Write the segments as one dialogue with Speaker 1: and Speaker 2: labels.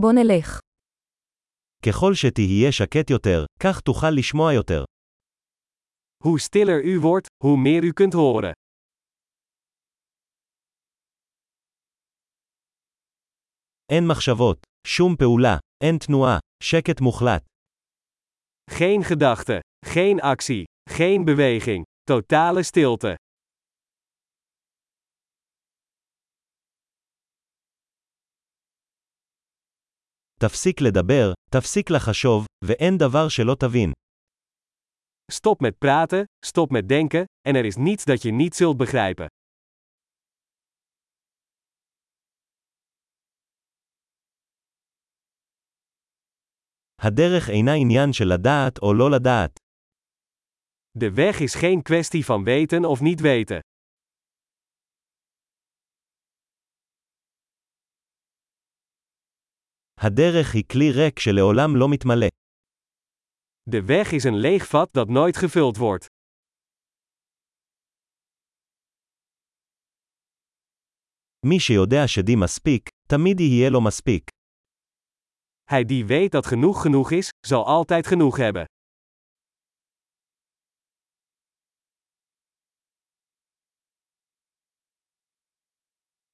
Speaker 1: בוא נלך.
Speaker 2: ככל שתהיה שקט יותר, כך תוכל לשמוע יותר.
Speaker 3: Hoe stiller u wordt, hoe meer u kunt horen.
Speaker 2: אין מחשבות, שום פעולה, אין תנועה, שקט מוחלט.
Speaker 3: Geen gedachten, geen actie, geen beweging, totale stilte.
Speaker 2: תפסיק לדבר, תפסיק לחשוב, ואין דבר שלא תבין.
Speaker 3: Stop met praten, stop met denken, en er is niets dat je niet zult begrijpen.
Speaker 2: הדרך אינה עניין של לדעת או לא לדעת.
Speaker 3: De weg is geen kwestie van weten of niet weten.
Speaker 2: הדרך היא כלי ריק שלעולם לא מתמלא.
Speaker 3: De weg is een leeg vat dat nooit gevuld wordt.
Speaker 2: מי שיודע שדי מספיק, תמיד יהיה לו מספיק.
Speaker 3: Hij die weet dat genoeg genoeg is, zal altijd genoeg hebben.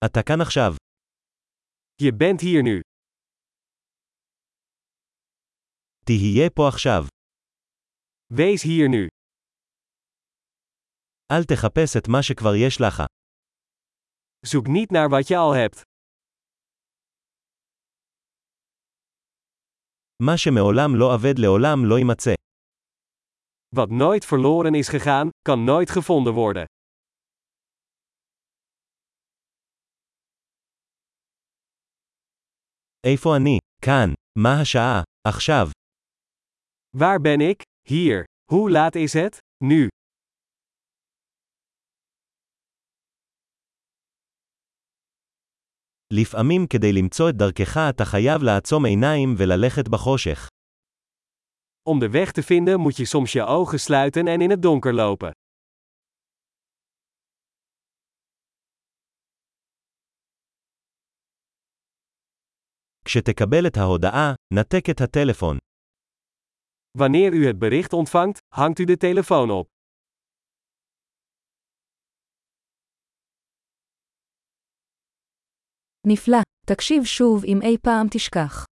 Speaker 2: אתה כאן עכשיו.
Speaker 3: Je bent hier nu.
Speaker 2: תהיה פה עכשיו.
Speaker 3: Wees hier nu.
Speaker 2: אל תחפש את מה שכבר יש לך.
Speaker 3: Zoek niet naar wat je al hebt.
Speaker 2: מה שמעולם לא אבד לעולם לא יימצא.
Speaker 3: Wat nooit verloren is gegaan, kan nooit gevonden worden.
Speaker 2: איפה אני? כאן. מה השעה? עכשיו.
Speaker 3: Waar ben ik? Hier. Hoe laat is het? Nu.
Speaker 2: לפעמים כדי למצוא את דרכך אתה חייב לעצום עיניים וללכת בחושך.
Speaker 3: Om de weg te vinden moet je soms je ogen sluiten en in het donker lopen.
Speaker 2: כשתקבל את ההודעה, נתק את הטלפון.
Speaker 3: Wanneer u het bericht ontvangt, hangt u de telefoon op.
Speaker 1: נפלא. תקשיב שוב אם אי פעם תשכח.